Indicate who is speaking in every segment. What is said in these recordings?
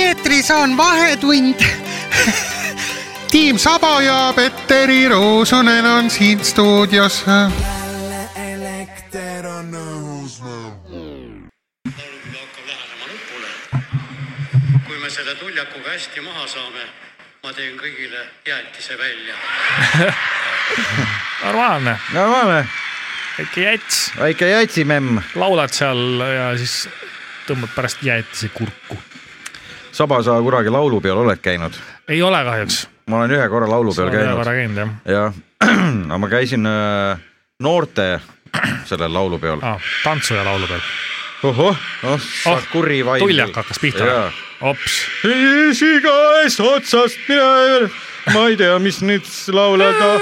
Speaker 1: eetris on Vahetund tiim Saba ja Petteri Roosonen on siin stuudios .
Speaker 2: elekter on õhus meil .
Speaker 3: palun hakka lähenema lõpule . kui me selle tuljakuga hästi maha saame , ma teen kõigile jäätise välja .
Speaker 4: normaalne ,
Speaker 5: normaalne ,
Speaker 4: väike jäts ,
Speaker 5: väike jätsimemm ,
Speaker 4: laulad seal ja siis tõmbad pärast jäätise kurku .
Speaker 5: saba , sa kunagi laulupeol oled käinud ?
Speaker 4: ei ole kahjuks .
Speaker 5: ma olen ühe korra laulupeol
Speaker 4: korra
Speaker 5: käinud
Speaker 4: käinud jah
Speaker 5: ja no ma käisin äh, noorte sellel laulupeol .
Speaker 4: ah, , tantsu ja laulu peal .
Speaker 5: ohoh , noh , kuri vaim .
Speaker 4: tuljak hakkas pihta
Speaker 5: Jaa. .
Speaker 4: hops ,
Speaker 5: siis igast otsast mina , ma ei tea , mis nüüd laulada .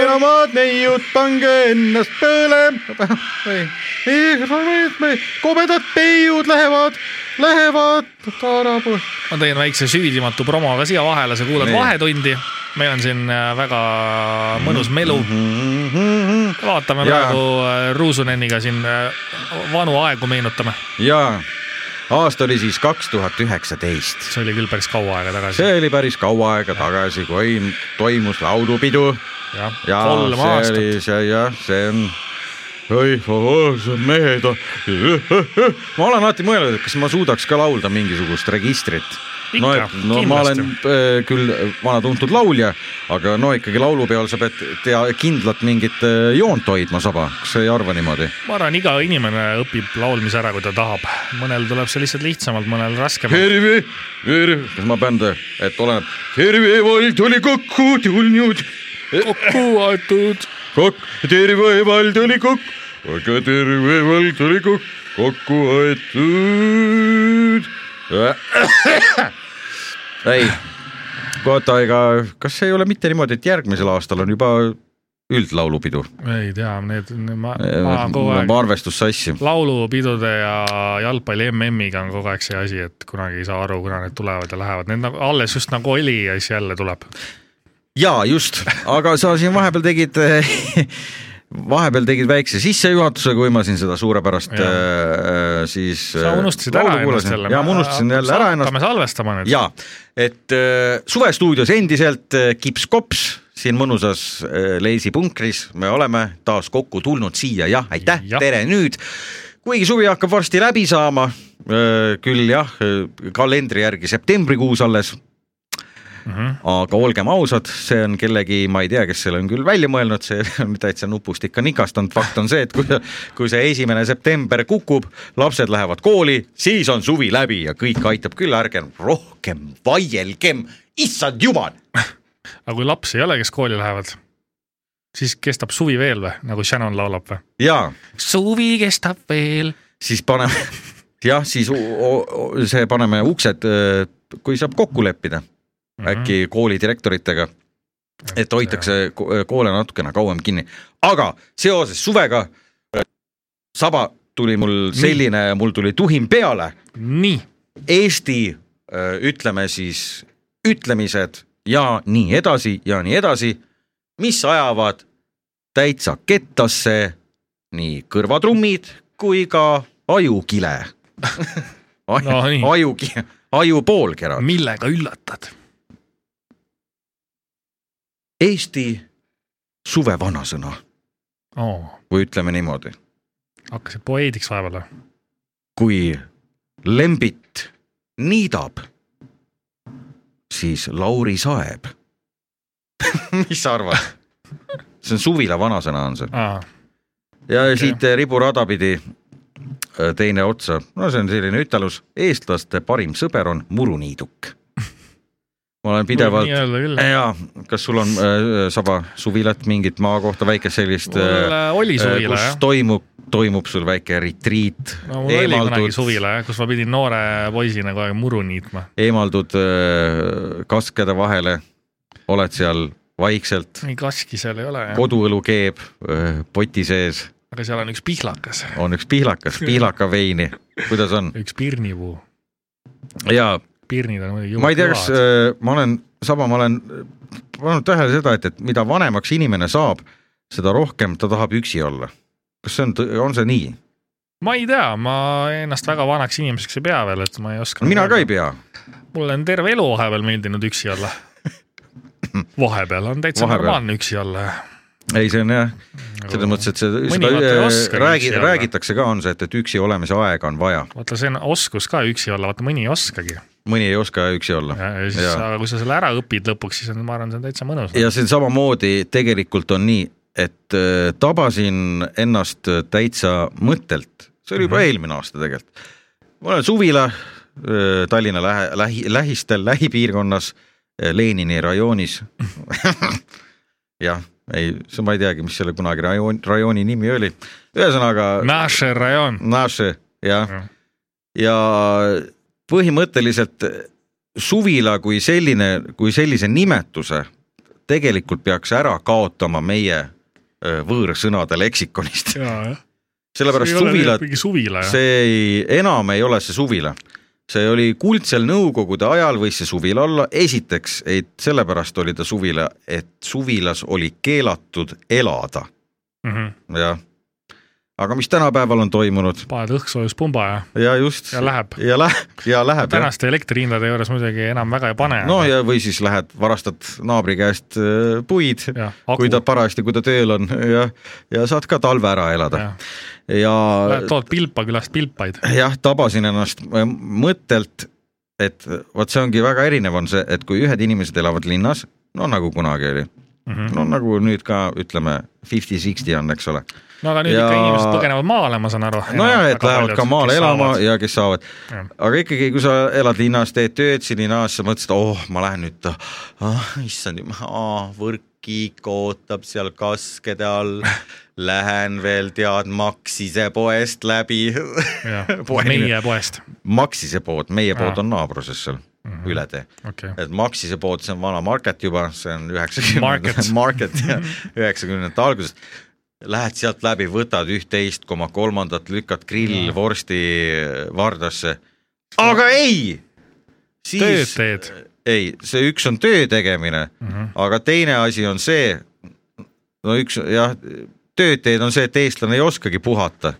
Speaker 5: kenamad neiud , pange ennast põlema . kobedad peiud lähevad , lähevad tarapu .
Speaker 4: ma tõin väikse süüdimatu promo ka siia vahele , sa kuulad
Speaker 5: Nii.
Speaker 4: Vahetundi . meil on siin äh, väga mõnus melu .
Speaker 5: Mm-hmm.
Speaker 4: vaatame
Speaker 5: Mhm. Jaa.
Speaker 4: praegu äh, Ruusuneniga siin äh, vanu aegu meenutame .
Speaker 5: ja aasta oli siis kaks tuhat üheksateist .
Speaker 4: see oli küll päris kaua aega tagasi .
Speaker 5: see oli päris kaua aega tagasi , kui toimus laulupidu
Speaker 4: jah ,
Speaker 5: ja
Speaker 4: kolm
Speaker 5: see
Speaker 4: aastat .
Speaker 5: oli see jah , see on . oi , see on mehed . ma olen alati mõelnud , et kas ma suudaks ka laulda mingisugust registrit . no,
Speaker 4: Ikka,
Speaker 5: et- no ma olen
Speaker 4: kindlasti.
Speaker 5: äh, küll vana tuntud laulja , aga no ikkagi laulupeol sa pead tea kindlat mingit äh, joont hoidma saba , kas sa ei arva niimoodi ?
Speaker 4: ma arvan , iga inimene õpib laulmise ära , kui ta tahab . mõnel tuleb see lihtsalt lihtsamalt , mõnel raskemalt .
Speaker 5: terve , terve , kas ma pean , et oleneb . terve vald oli kokku tulnud ,
Speaker 4: kokku aetud .
Speaker 5: kokk , terve vald oli kokk , aga terve vald oli kokk , kokku aetud . ei , oota , ega kas ei ole mitte niimoodi , et järgmisel aastal on juba üldlaulupidu ? Nagu
Speaker 4: ei tea , need , ma , ma kogu aeg
Speaker 5: ma . arvestus sassi .
Speaker 4: laulupidude ja jalgpalli MM-iga on kogu aeg see asi , et kunagi ei saa aru , kuna need tulevad ja lähevad , need nagu alles just nagu oli ja siis jälle tuleb .
Speaker 5: ja just , aga sa siin vahepeal tegid vahepeal tegid väikse sissejuhatuse , kui ma siin seda suurepärast
Speaker 4: Jaa.
Speaker 5: äh, siis .
Speaker 4: sa unustasid ära ennast jälle .
Speaker 5: ja ma unustasin jälle ära ennast .
Speaker 4: hakkame salvestama nüüd .
Speaker 5: ja , et äh, Suvestuudios endiselt äh, kips-kops siin mõnusas äh, leisipunkris me oleme taas kokku tulnud siia , jah , aitäh ja. ,
Speaker 4: Jah.
Speaker 5: tere nüüd . kuigi suvi hakkab varsti läbi saama , küll jah , kalendri järgi septembrikuus alles
Speaker 4: Mm -hmm.
Speaker 5: aga olgem ausad , see on kellegi , ma ei tea , kes selle on küll välja mõelnud , see on täitsa nupust ikka nikastanud , fakt on see , et kui , kui see esimene september kukub , lapsed lähevad kooli , siis on suvi läbi ja kõik aitab küll , ärgem rohkem vaielgem , issand jumal .
Speaker 4: aga kui lapsi ei ole , kes kooli lähevad , siis kestab suvi veel või , nagu Shannon laulab või ?
Speaker 5: ja
Speaker 4: suvi kestab veel .
Speaker 5: siis paneme , jah , siis u- o- o- see paneme uksed , kui saab kokku leppida äkki koolidirektoritega , et hoitakse ko- koole natukene kauem kinni , aga seoses suvega äh, saba tuli mul selline , mul tuli tuhin peale ,
Speaker 4: nii ,
Speaker 5: Eesti äh, ütleme siis ütlemised ja nii edasi ja nii edasi , mis ajavad täitsa kettasse nii kõrvatrummid kui ka ajukile aju,
Speaker 4: No nii.
Speaker 5: no, . ajukile , ajupoolkera .
Speaker 4: millega üllatad ?
Speaker 5: Eesti suve vanasõna
Speaker 4: oo ,
Speaker 5: või ütleme niimoodi ,
Speaker 4: hakkasid poeediks vahepeal või ?
Speaker 5: kui lembit niidab , siis Lauri saeb . mis sa arvad ? see on suvila vanasõna on see
Speaker 4: aa ,
Speaker 5: ja okay. siit eh, riburada pidi äh, teine otsa , no see on selline ütelus , eestlaste parim sõber on muruniiduk . ma olen pidevalt Eh,
Speaker 4: nii-öelda küll .
Speaker 5: ja kas sul on äh, saba suvilat mingit maakohta , väikest sellist ?
Speaker 4: mul äh, oli suvila
Speaker 5: kus
Speaker 4: jah .
Speaker 5: toimub , toimub sul väike retriit
Speaker 4: no mul oli kunagi suvila jah , kus ma pidin noore poisina kogu aeg muru niitma .
Speaker 5: eemaldud äh, kaskede vahele , oled seal vaikselt ,
Speaker 4: nii kaski seal ei ole jah ,
Speaker 5: koduõlu keeb äh, poti sees ,
Speaker 4: aga seal on üks pihlakas ,
Speaker 5: on üks pihlakas , pihlakaveini , kuidas on ?
Speaker 4: üks pirnipuu .
Speaker 5: ja
Speaker 4: pirnid on muidugi
Speaker 5: ma ei tea , kas äh, ma olen , sama ma olen äh, pannud tähele seda , et , et mida vanemaks inimene saab , seda rohkem ta tahab üksi olla . kas see on , on see nii ?
Speaker 4: ma ei tea , ma ennast väga vanaks inimeseks ei pea veel , et ma ei oska .
Speaker 5: mina ka ei . pea ,
Speaker 4: mulle on terve elu vahepeal meeldinud üksi olla . vahepeal on
Speaker 5: Vahepeal.
Speaker 4: täitsa vahepeal. normaalne üksi olla .
Speaker 5: ei , see on jah , selles mõttes , et see , seda
Speaker 4: Mõnikord ei
Speaker 5: äh,
Speaker 4: oska
Speaker 5: räägi
Speaker 4: üksi , olla.
Speaker 5: räägitakse ka , on see , et , et üksi olemise aega on vaja ,
Speaker 4: vaata , see on oskus ka üksi olla , vaata mõni ei oskagi .
Speaker 5: mõni ei oska üksi olla .
Speaker 4: ja ja siis , aga kui sa selle ära õpid lõpuks , siis on , ma arvan , see on täitsa mõnus .
Speaker 5: ja see on samamoodi , tegelikult on nii , et äh, tabasin ennast täitsa mõttelt , see oli juba mm -hmm. eelmine aasta tegelikult . ma olen suvila äh, Tallinna lähe, lähi , lähistel , lähipiirkonnas , Lenini rajoonis . jah , ei , ma ei teagi , mis selle kunagi rajoon , rajooni nimi oli , ühesõnaga .
Speaker 4: Naše rajon .
Speaker 5: Naše , jah
Speaker 4: Jah. .
Speaker 5: ja põhimõtteliselt suvila kui selline , kui sellise nimetuse tegelikult peaks ära kaotama meie öö, võõrsõnade leksikonist , sellepärast suvilat ,
Speaker 4: mingi suvila , jah .
Speaker 5: see ei , enam ei ole see suvila . see oli kuldsel nõukogude ajal võis see suvila olla , esiteks , et sellepärast oli ta suvila , et suvilas oli keelatud elada ,
Speaker 4: Mhm.
Speaker 5: jah . aga mis tänapäeval on toimunud
Speaker 4: paned õhksoojuspumba ja ,
Speaker 5: ja just .
Speaker 4: ja läheb .
Speaker 5: ja läheb , ja läheb jah .
Speaker 4: tänaste elektrihindade juures muidugi enam väga ei pane .
Speaker 5: no ja või siis lähed , varastad naabri käest äh, puid ,
Speaker 4: Jah, aku.
Speaker 5: kui ta parajasti , kui ta tööl on ja , ja saad ka talve ära elada . ja
Speaker 4: tood Pilpa külast pilpaid .
Speaker 5: jah , tabasin ennast äh, mõttelt , et vot see ongi väga erinev , on see , et kui ühed inimesed elavad linnas , no nagu kunagi oli , no nagu nüüd ka ütleme fifty-sixty on , eks ole .
Speaker 4: no aga nüüd
Speaker 5: Ja-
Speaker 4: ikka inimesed põgenevad maale , ma saan aru .
Speaker 5: nojah , et lähevad ka maale elama ja kes saavad
Speaker 4: Jah. .
Speaker 5: aga ikkagi , kui sa elad linnas , teed tööd siin linnas , sa mõtled , et oh , ma lähen nüüd ah, , issand jumal , võrkkiik ootab seal kaskede all , lähen veel tead Maxise poest läbi .
Speaker 4: meie poest ,
Speaker 5: Maxise pood , meie pood
Speaker 4: Aa.
Speaker 5: on naabruses seal üle tee ,
Speaker 4: okei .
Speaker 5: et Maxise pood , see on vana market juba , see on
Speaker 4: Market.
Speaker 5: üheksakümnendate , market üheksakümnendate alguses . Lähed sealt läbi , võtad üht-teist koma kolmandat , lükkad grillvorsti vardasse . aga ei ,
Speaker 4: tööd
Speaker 5: siis ,
Speaker 4: teed .
Speaker 5: ei , see üks on töö tegemine mm , -hmm. aga teine asi on see , no üks jah , tööd teed on see , et eestlane ei oskagi puhata .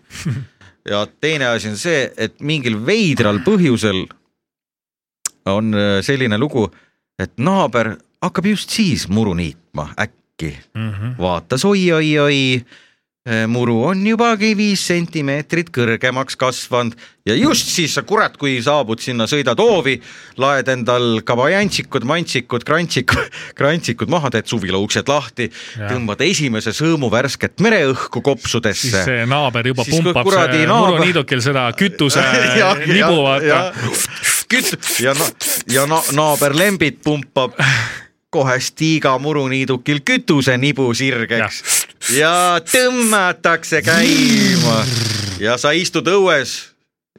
Speaker 5: ja teine asi on see , et mingil veidral põhjusel on äh, selline lugu , et naaber hakkab just siis muru niitma äkki ,
Speaker 4: Mhm.
Speaker 5: vaatas oi-oi-oi , eh, muru on jubagi viis sentimeetrit kõrgemaks kasvanud ja just siis sa kurat , kui saabud sinna , sõidad hoovi , laed endal kabajantsikud , mantsikud , krantsikud , krantsikud maha , teed suvila uksed lahti , tõmbad esimese sõõmu värsket mereõhku
Speaker 4: siis
Speaker 5: kopsudesse .
Speaker 4: see naaber juba
Speaker 5: Siis kui
Speaker 4: pumpab
Speaker 5: kuradi
Speaker 4: see
Speaker 5: naaber-
Speaker 4: muruniidukil seda kütuse
Speaker 5: Ja-
Speaker 4: nibu ,
Speaker 5: ja-
Speaker 4: vaata .
Speaker 5: ja- küt- äh, ja na- , ja na- naaber Lembit pumpab kohe Stiga muruniidukil kütusenibu sirgeks ja tõmmatakse käima ja sa istud õues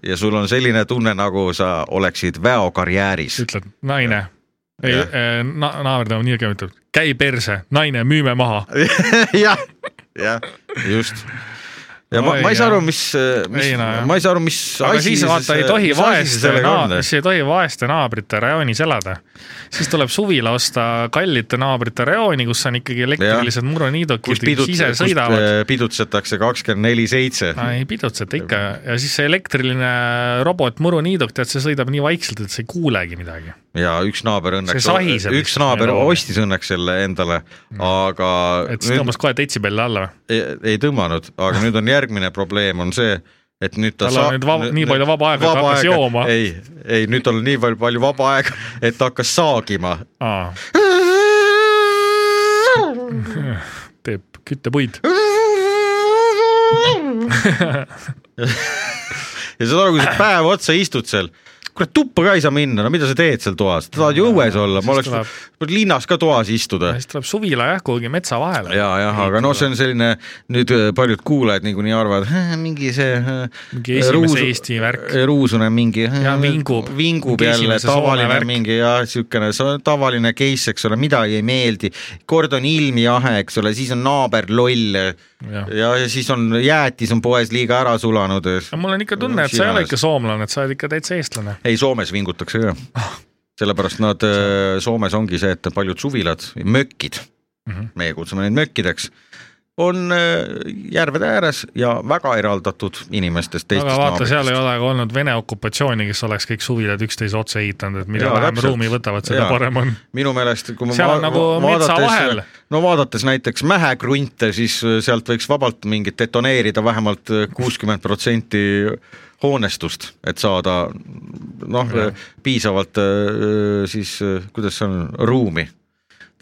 Speaker 5: ja sul on selline tunne , nagu sa oleksid väokarjääris .
Speaker 4: ütled naine , ei äh,
Speaker 5: Jah. ,
Speaker 4: naaber tuleb nii õige , ütleb käi perse , naine , müüme maha .
Speaker 5: jah , jah , just . ja ma ,
Speaker 4: Oi,
Speaker 5: ma ei saa
Speaker 4: jah.
Speaker 5: aru , mis , mis
Speaker 4: Ei, no jah. ,
Speaker 5: ma ei saa aru , mis
Speaker 4: aga siis vaata ei tohi vaeste naa- ,
Speaker 5: vaeseks
Speaker 4: siis ei tohi vaeste naabrite rajoonis elada . siis tuleb suvila osta kallite naabrite rajooni , kus on ikkagi elektrilised
Speaker 5: kus
Speaker 4: muruniidukid ,
Speaker 5: pidut-
Speaker 4: mis ise
Speaker 5: kus,
Speaker 4: sõidavad .
Speaker 5: äh, pidutsetakse kakskümmend neli seitse .
Speaker 4: no ei pidutseta ikka ja siis see elektriline robot muruniiduk , tead , see sõidab nii vaikselt , et sa ei kuulegi midagi .
Speaker 5: ja üks naaber õnneks
Speaker 4: See sahiseb ,
Speaker 5: üks
Speaker 4: lihtsalt
Speaker 5: naaber
Speaker 4: meil loomi.
Speaker 5: ostis õnneks selle endale , aga
Speaker 4: et siis
Speaker 5: nüüd
Speaker 4: tõmbas kohe detsibelli alla .
Speaker 5: ei, ei tõmmanud , aga nüüd on järgmine probleem on see , et nüüd ta
Speaker 4: Tal on nüüd vab- nii palju vaba aega, et hakkas jooma.
Speaker 5: ei , ei nüüd tal on nii palju, palju vaba aega , et ta hakkas saagima .
Speaker 4: teeb küttepuid .
Speaker 5: ja saad aru , kui sa päev otsa istud seal , kurat tuppa ka ei saa minna , no mida sa teed seal toas , tahad ju õues olla , ma
Speaker 4: Siis
Speaker 5: oleks , linnas ka toas istuda
Speaker 4: siis tuleb suvila jah , kuhugi metsa vahele .
Speaker 5: ja , jah , aga noh , see on selline nüüd öö, paljud kuulajad niikuinii arvavad , mingi see öö,
Speaker 4: Mingi esimese Eesti värk.
Speaker 5: ruusune mingi äh,
Speaker 4: Ja vingub.
Speaker 5: vingub
Speaker 4: Mingi
Speaker 5: jälle ,
Speaker 4: esimese Soome
Speaker 5: tavaline
Speaker 4: värk.
Speaker 5: mingi jah , niisugune so- tavaline case , eks ole , midagi ei meeldi , kord on ilmijahe , eks ole , siis on äh, naaber loll ja,
Speaker 4: Jah.
Speaker 5: ja siis on jäätis on poes liiga ära sulanud .
Speaker 4: mul on ikka tunne , et sa ei ole ikka soomlane , et sa oled ikka täitsa eestlane .
Speaker 5: ei , Soomes vingutakse ka . sellepärast nad , äh,
Speaker 4: Mhm.
Speaker 5: Soomes ongi see , et paljud suvilad , mökid mm , -hmm. meie kutsume neid mökkideks , on äh, järvede ääres ja väga eraldatud inimestest teistest
Speaker 4: aga vaata , seal ei ole ka olnud Vene okupatsiooni , kes oleks kõik suvilad üksteise otsa ehitanud , et mida
Speaker 5: Jaa,
Speaker 4: vähem
Speaker 5: täpselt.
Speaker 4: ruumi võtavad , seda
Speaker 5: Jaa.
Speaker 4: parem on .
Speaker 5: minu meelest , kui ma
Speaker 4: Seal on
Speaker 5: va-
Speaker 4: nagu
Speaker 5: va-
Speaker 4: metsa vahel.
Speaker 5: no vaadates näiteks mähekrunte , siis äh, sealt võiks vabalt mingit detoneerida vähemalt äh, kuuskümmend protsenti hoonestust , et saada noh , piisavalt öö, siis , kuidas see on , ruumi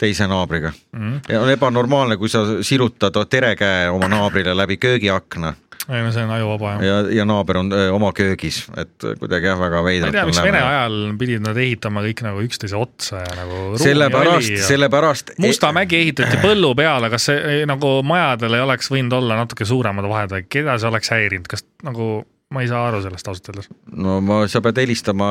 Speaker 5: teise naabriga
Speaker 4: Mhm.
Speaker 5: mm. . ja on ebanormaalne , kui sa sirutad terekäe oma naabrile läbi köögiakna
Speaker 4: ei no see on ajuvaba jah .
Speaker 5: ja , ja naaber on öö, oma köögis , et äh, kuidagi jah , väga
Speaker 4: ma
Speaker 5: veidralt
Speaker 4: ei tea , miks Vene ajal pidid nad ehitama kõik nagu üksteise otsa ja nagu ruumi
Speaker 5: sellepärast E-
Speaker 4: oli , ja...
Speaker 5: sellepärast
Speaker 4: Musta mägi ehitati põllu peale , kas see eh, nagu majadel ei oleks võinud olla natuke suuremad vahed , keda see oleks häirinud , kas nagu ma ei saa aru sellest ausalt öeldes .
Speaker 5: no ma , sa pead helistama ,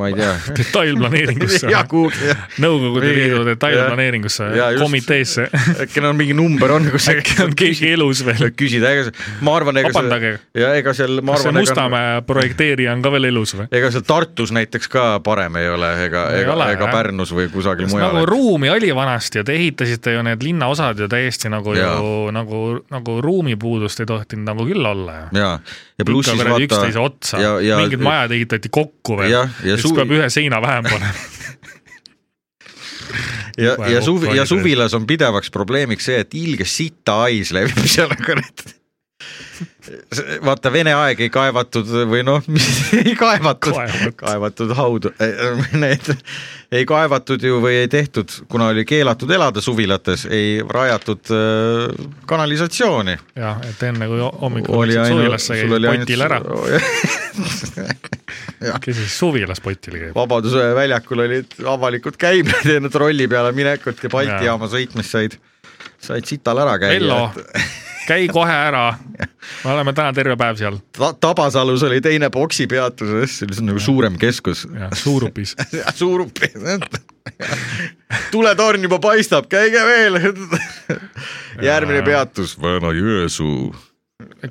Speaker 5: ma ei tea .
Speaker 4: detailplaneeringusse ,
Speaker 5: kuhugi jah .
Speaker 4: Nõukogude
Speaker 5: Mingi-
Speaker 4: Liidu detailplaneeringusse
Speaker 5: Jaa, just. ,
Speaker 4: komiteesse .
Speaker 5: äkki neil mingi number on , kus äkki
Speaker 4: on keegi elus veel .
Speaker 5: küsida , ega see , ma arvan , ega
Speaker 4: Vabandage.
Speaker 5: see , ja ega seal , ma
Speaker 4: kas see
Speaker 5: arvan , ega
Speaker 4: Mustamäe projekteerija on ka veel elus või ?
Speaker 5: ega seal Tartus näiteks ka parem ei ole , ega ,
Speaker 4: Ei
Speaker 5: ega
Speaker 4: ole, ,
Speaker 5: ega
Speaker 4: jah.
Speaker 5: Pärnus või kusagil mujal
Speaker 4: nagu
Speaker 5: nagu... .
Speaker 4: ruumi oli vanasti ja te ehitasite ju need linnaosad ju täiesti nagu
Speaker 5: Jaa.
Speaker 4: ju nagu , nagu ruumipuudust ei tohtinud nagu küll olla ju .
Speaker 5: ja , ja pluss siis
Speaker 4: ikka kuradi
Speaker 5: vaata
Speaker 4: üksteise otsa
Speaker 5: ja , ja
Speaker 4: mingid majad ehitati kokku veel
Speaker 5: Jah, , ja
Speaker 4: siis
Speaker 5: suvi-
Speaker 4: peab ühe seina vähem panema .
Speaker 5: ja , ja suvi , ja
Speaker 4: kokku
Speaker 5: suvilas on pidevaks probleemiks see , et ilge sita hais levib seal nagu need vaata , Vene aeg ei kaevatud või noh , ei kaevatud ,
Speaker 4: Kaevatud.
Speaker 5: kaevatud haudu , need ei kaevatud ju või ei tehtud , kuna oli keelatud elada suvilates , ei rajatud äh, kanalisatsiooni .
Speaker 4: jah , et enne kui hommikul
Speaker 5: oli
Speaker 4: läksid
Speaker 5: ainult ,
Speaker 4: suvilasse ,
Speaker 5: sul
Speaker 4: käisid
Speaker 5: oli ainult
Speaker 4: potil ära ,, käisid suvilas potile käib .
Speaker 5: Vabaduse väljakul olid avalikud käimed enne trolli peale minekut ja Balti
Speaker 4: Jaa.
Speaker 5: jaama sõitmist said , said sital ära käia .
Speaker 4: Vello , käi kohe ära . me oleme täna terve päev seal
Speaker 5: Ta- Tabasalus oli teine poksipeatuses , see oli nagu suurem keskus .
Speaker 4: ja Suurupis .
Speaker 5: suur , tuletorn juba paistab , käige veel . järgmine peatus Vana-Jõesuu .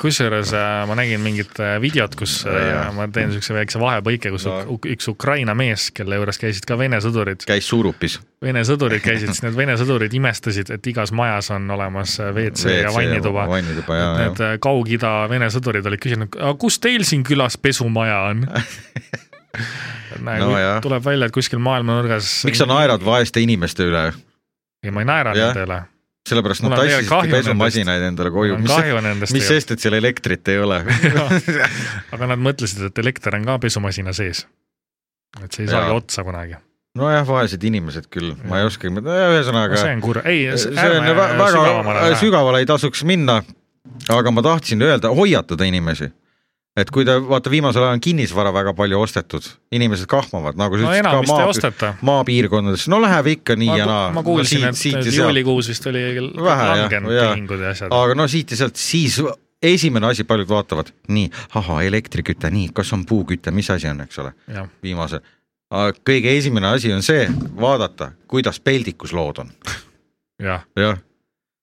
Speaker 4: kusjuures äh, ma nägin mingit äh, videot , kus äh,
Speaker 5: Jaa.
Speaker 4: ma teen siukse väikse vahepõike , kus
Speaker 5: No.
Speaker 4: uk- üks Ukraina mees , kelle juures käisid ka Vene sõdurid ,
Speaker 5: käis Suurupis ,
Speaker 4: Vene sõdurid käisid , siis need Vene sõdurid imestasid , et igas majas on olemas äh, WC ja
Speaker 5: WC ja
Speaker 4: vannituba .
Speaker 5: vannituba, jaa,
Speaker 4: Need äh, Kaug-Ida Vene sõdurid olid küsinud , kus teil siin külas pesumaja on ? Nagu,
Speaker 5: Nojah.
Speaker 4: tuleb välja , et kuskil maailmanurgas .
Speaker 5: miks sa naerad vaeste inimeste üle ?
Speaker 4: ei , ma ei naera
Speaker 5: Jah.
Speaker 4: nende üle .
Speaker 5: sellepärast
Speaker 4: Mul
Speaker 5: nad
Speaker 4: on tegelikult
Speaker 5: tassisidki
Speaker 4: kahju
Speaker 5: pesumasinaid endale koju ,
Speaker 4: Mul on
Speaker 5: mis
Speaker 4: kahju nendest
Speaker 5: mis
Speaker 4: tegelikult.
Speaker 5: sest , et seal elektrit ei ole .
Speaker 4: aga nad mõtlesid , et elekter on ka pesumasina sees . et see ei saagi
Speaker 5: Jaa.
Speaker 4: otsa kunagi .
Speaker 5: nojah , vaesed inimesed küll , ma ei oskagi , ühesõnaga
Speaker 4: see on kurb , ei ,
Speaker 5: see on
Speaker 4: ärme
Speaker 5: vä-
Speaker 4: sügavamale
Speaker 5: väga , äh,
Speaker 4: lähe sügav... .
Speaker 5: sügavale ei tasuks minna , aga ma tahtsin öelda , hoiatada inimesi . et kui te vaata , viimasel ajal on kinnisvara väga palju ostetud , inimesed kahmavad , nagu sa
Speaker 4: no
Speaker 5: ütlesid
Speaker 4: enamasti ei
Speaker 5: ka
Speaker 4: osteta .
Speaker 5: maa , maapiirkondades , no läheb ikka nii
Speaker 4: ma,
Speaker 5: ja naa .
Speaker 4: ma kuulsin ,
Speaker 5: no,
Speaker 4: et , et . juulikuus vist oli
Speaker 5: Vähe, jah,
Speaker 4: langenud
Speaker 5: jah.
Speaker 4: tehingud ja asjad .
Speaker 5: aga no siit ja sealt , siis esimene asi , paljud vaatavad , nii , ahah , elektriküte , nii , kas on puuküte , mis asi on , eks ole ,
Speaker 4: jah ,
Speaker 5: viimase . kõige esimene asi on see , vaadata , kuidas peldikus lood on ,
Speaker 4: jah ,
Speaker 5: jah ,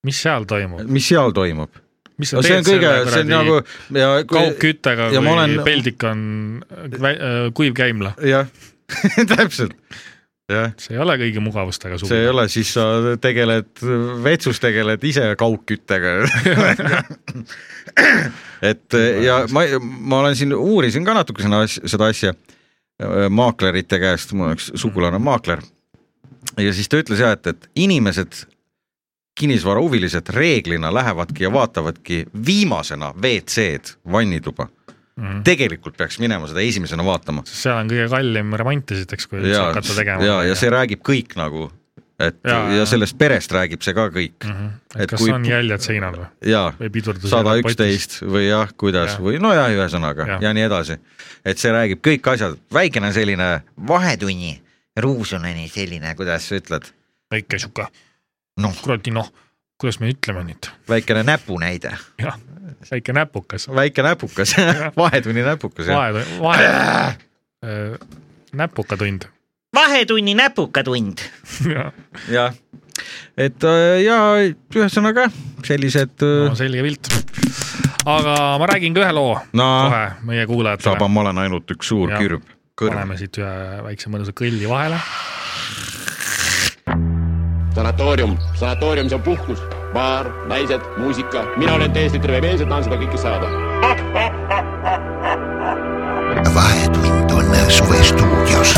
Speaker 4: mis seal toimub ,
Speaker 5: mis seal toimub
Speaker 4: mis sa
Speaker 5: no see on
Speaker 4: teed
Speaker 5: kõige
Speaker 4: selle ,
Speaker 5: see on
Speaker 4: kuradi
Speaker 5: nagu
Speaker 4: nagu...
Speaker 5: ja kui
Speaker 4: kaugküttega ,
Speaker 5: ja
Speaker 4: kui
Speaker 5: ma
Speaker 4: olen...
Speaker 5: olen-
Speaker 4: peldik on vä- äh, kuiv käimla ,
Speaker 5: jah täpselt jah ,
Speaker 4: see ei ole kõigi mugavustega
Speaker 5: see ei
Speaker 4: suvi .
Speaker 5: ole , siis sa tegeled , vetsus tegeled ise kaugküttega . et ja ma , ma olen siin , uurisin ka natuke seda asja , seda asja äh, maaklerite käest , mul on üks sugulane
Speaker 4: Mhm.
Speaker 5: on maakler . ja siis ta ütles jah , et , et inimesed , kinnisvarahuvilised reeglina lähevadki ja vaatavadki viimasena WC-d , vannituba
Speaker 4: Mhm. .
Speaker 5: tegelikult peaks minema seda esimesena vaatama .
Speaker 4: seal on kõige kallim remont esiteks , kui üldse
Speaker 5: ja
Speaker 4: hakata , tegema .
Speaker 5: ja , ja see räägib kõik nagu , et ja,
Speaker 4: Jaa,
Speaker 5: ja
Speaker 4: jaa.
Speaker 5: sellest perest räägib see ka kõik
Speaker 4: mm . -hmm. et,
Speaker 5: Et
Speaker 4: et kas
Speaker 5: kui-
Speaker 4: on jäljed seinal või ,
Speaker 5: ja
Speaker 4: või pidurdus ?
Speaker 5: sada . üksteist või jah , kuidas
Speaker 4: Jah.
Speaker 5: ja. või nojah , ühesõnaga ja.
Speaker 4: Jah.
Speaker 5: ja nii edasi . et see räägib kõik asjad , väikene selline vahetunni , ruusuneni selline , kuidas sa ütled ,
Speaker 4: väike sihuke ,
Speaker 5: noh ,
Speaker 4: kuradi noh , kuidas me ütleme nüüd ,
Speaker 5: väikene näpunäide ,
Speaker 4: jah , väike näpukas ,
Speaker 5: väike näpukas , vahetunni näpukas jah ,
Speaker 4: vahe , vahe , Äh, näpukatund .
Speaker 6: vahetunni näpukatund .
Speaker 4: jah ,
Speaker 5: jah . et äh, ja ühesõnaga sellised äh,
Speaker 4: no
Speaker 5: no, ,
Speaker 4: selge pilt . aga ma räägin ka ühe loo
Speaker 5: no
Speaker 4: kohe meie
Speaker 5: saba ,
Speaker 4: kuulajatele .
Speaker 5: ma olen ainult üks suur
Speaker 4: Jah.
Speaker 5: ja. kürb , kõrv
Speaker 4: paneme siit ühe väikse mõnusa kõlli vahele .
Speaker 7: sanatoorium , sanatoorium , see on puhkus , baar , naised , muusika , mina olen täiesti terve mees ja tahan seda kõike saada
Speaker 8: Vahetund on suvestuudios .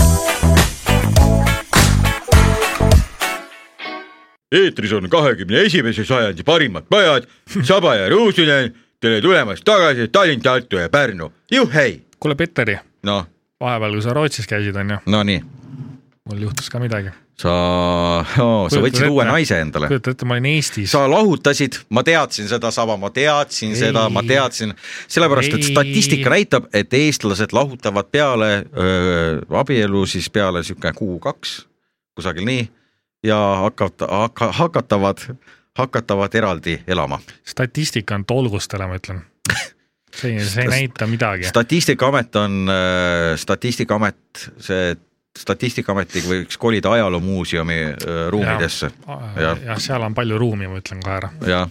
Speaker 5: eetris on kahekümne esimese sajandi parimad majad , Saba ja Ruusinen , tere tulemast tagasi Tallinn , Tartu ja Pärnu , juhhei .
Speaker 4: kuule , Petteri ,
Speaker 5: noh ,
Speaker 4: vahepeal , kui sa Rootsis käisid , onju ,
Speaker 5: no nii ,
Speaker 4: mul juhtus ka midagi .
Speaker 5: sa oh, , sa
Speaker 4: Kujuta
Speaker 5: võtsid
Speaker 4: ette.
Speaker 5: uue naise endale .
Speaker 4: kujuta ette , ma olin Eestis .
Speaker 5: sa lahutasid , ma teadsin seda sama , ma teadsin ei. seda , ma teadsin , sellepärast et
Speaker 4: Ei.
Speaker 5: statistika näitab , et eestlased lahutavad peale öö, abielu siis peale niisugune kuu-kaks , kusagil nii , ja hakata , hakka- , hakatavad , hakatavad eraldi elama .
Speaker 4: statistika on tolgustele , ma ütlen . see , see ei näita midagi .
Speaker 5: statistikaamet on , statistikaamet , see statistikaameti võiks kolida ajaloomuuseumi öö, ruumidesse
Speaker 4: jah
Speaker 5: jah. ,
Speaker 4: ja, seal on palju ruumi , ma ütlen kohe ära .
Speaker 5: ja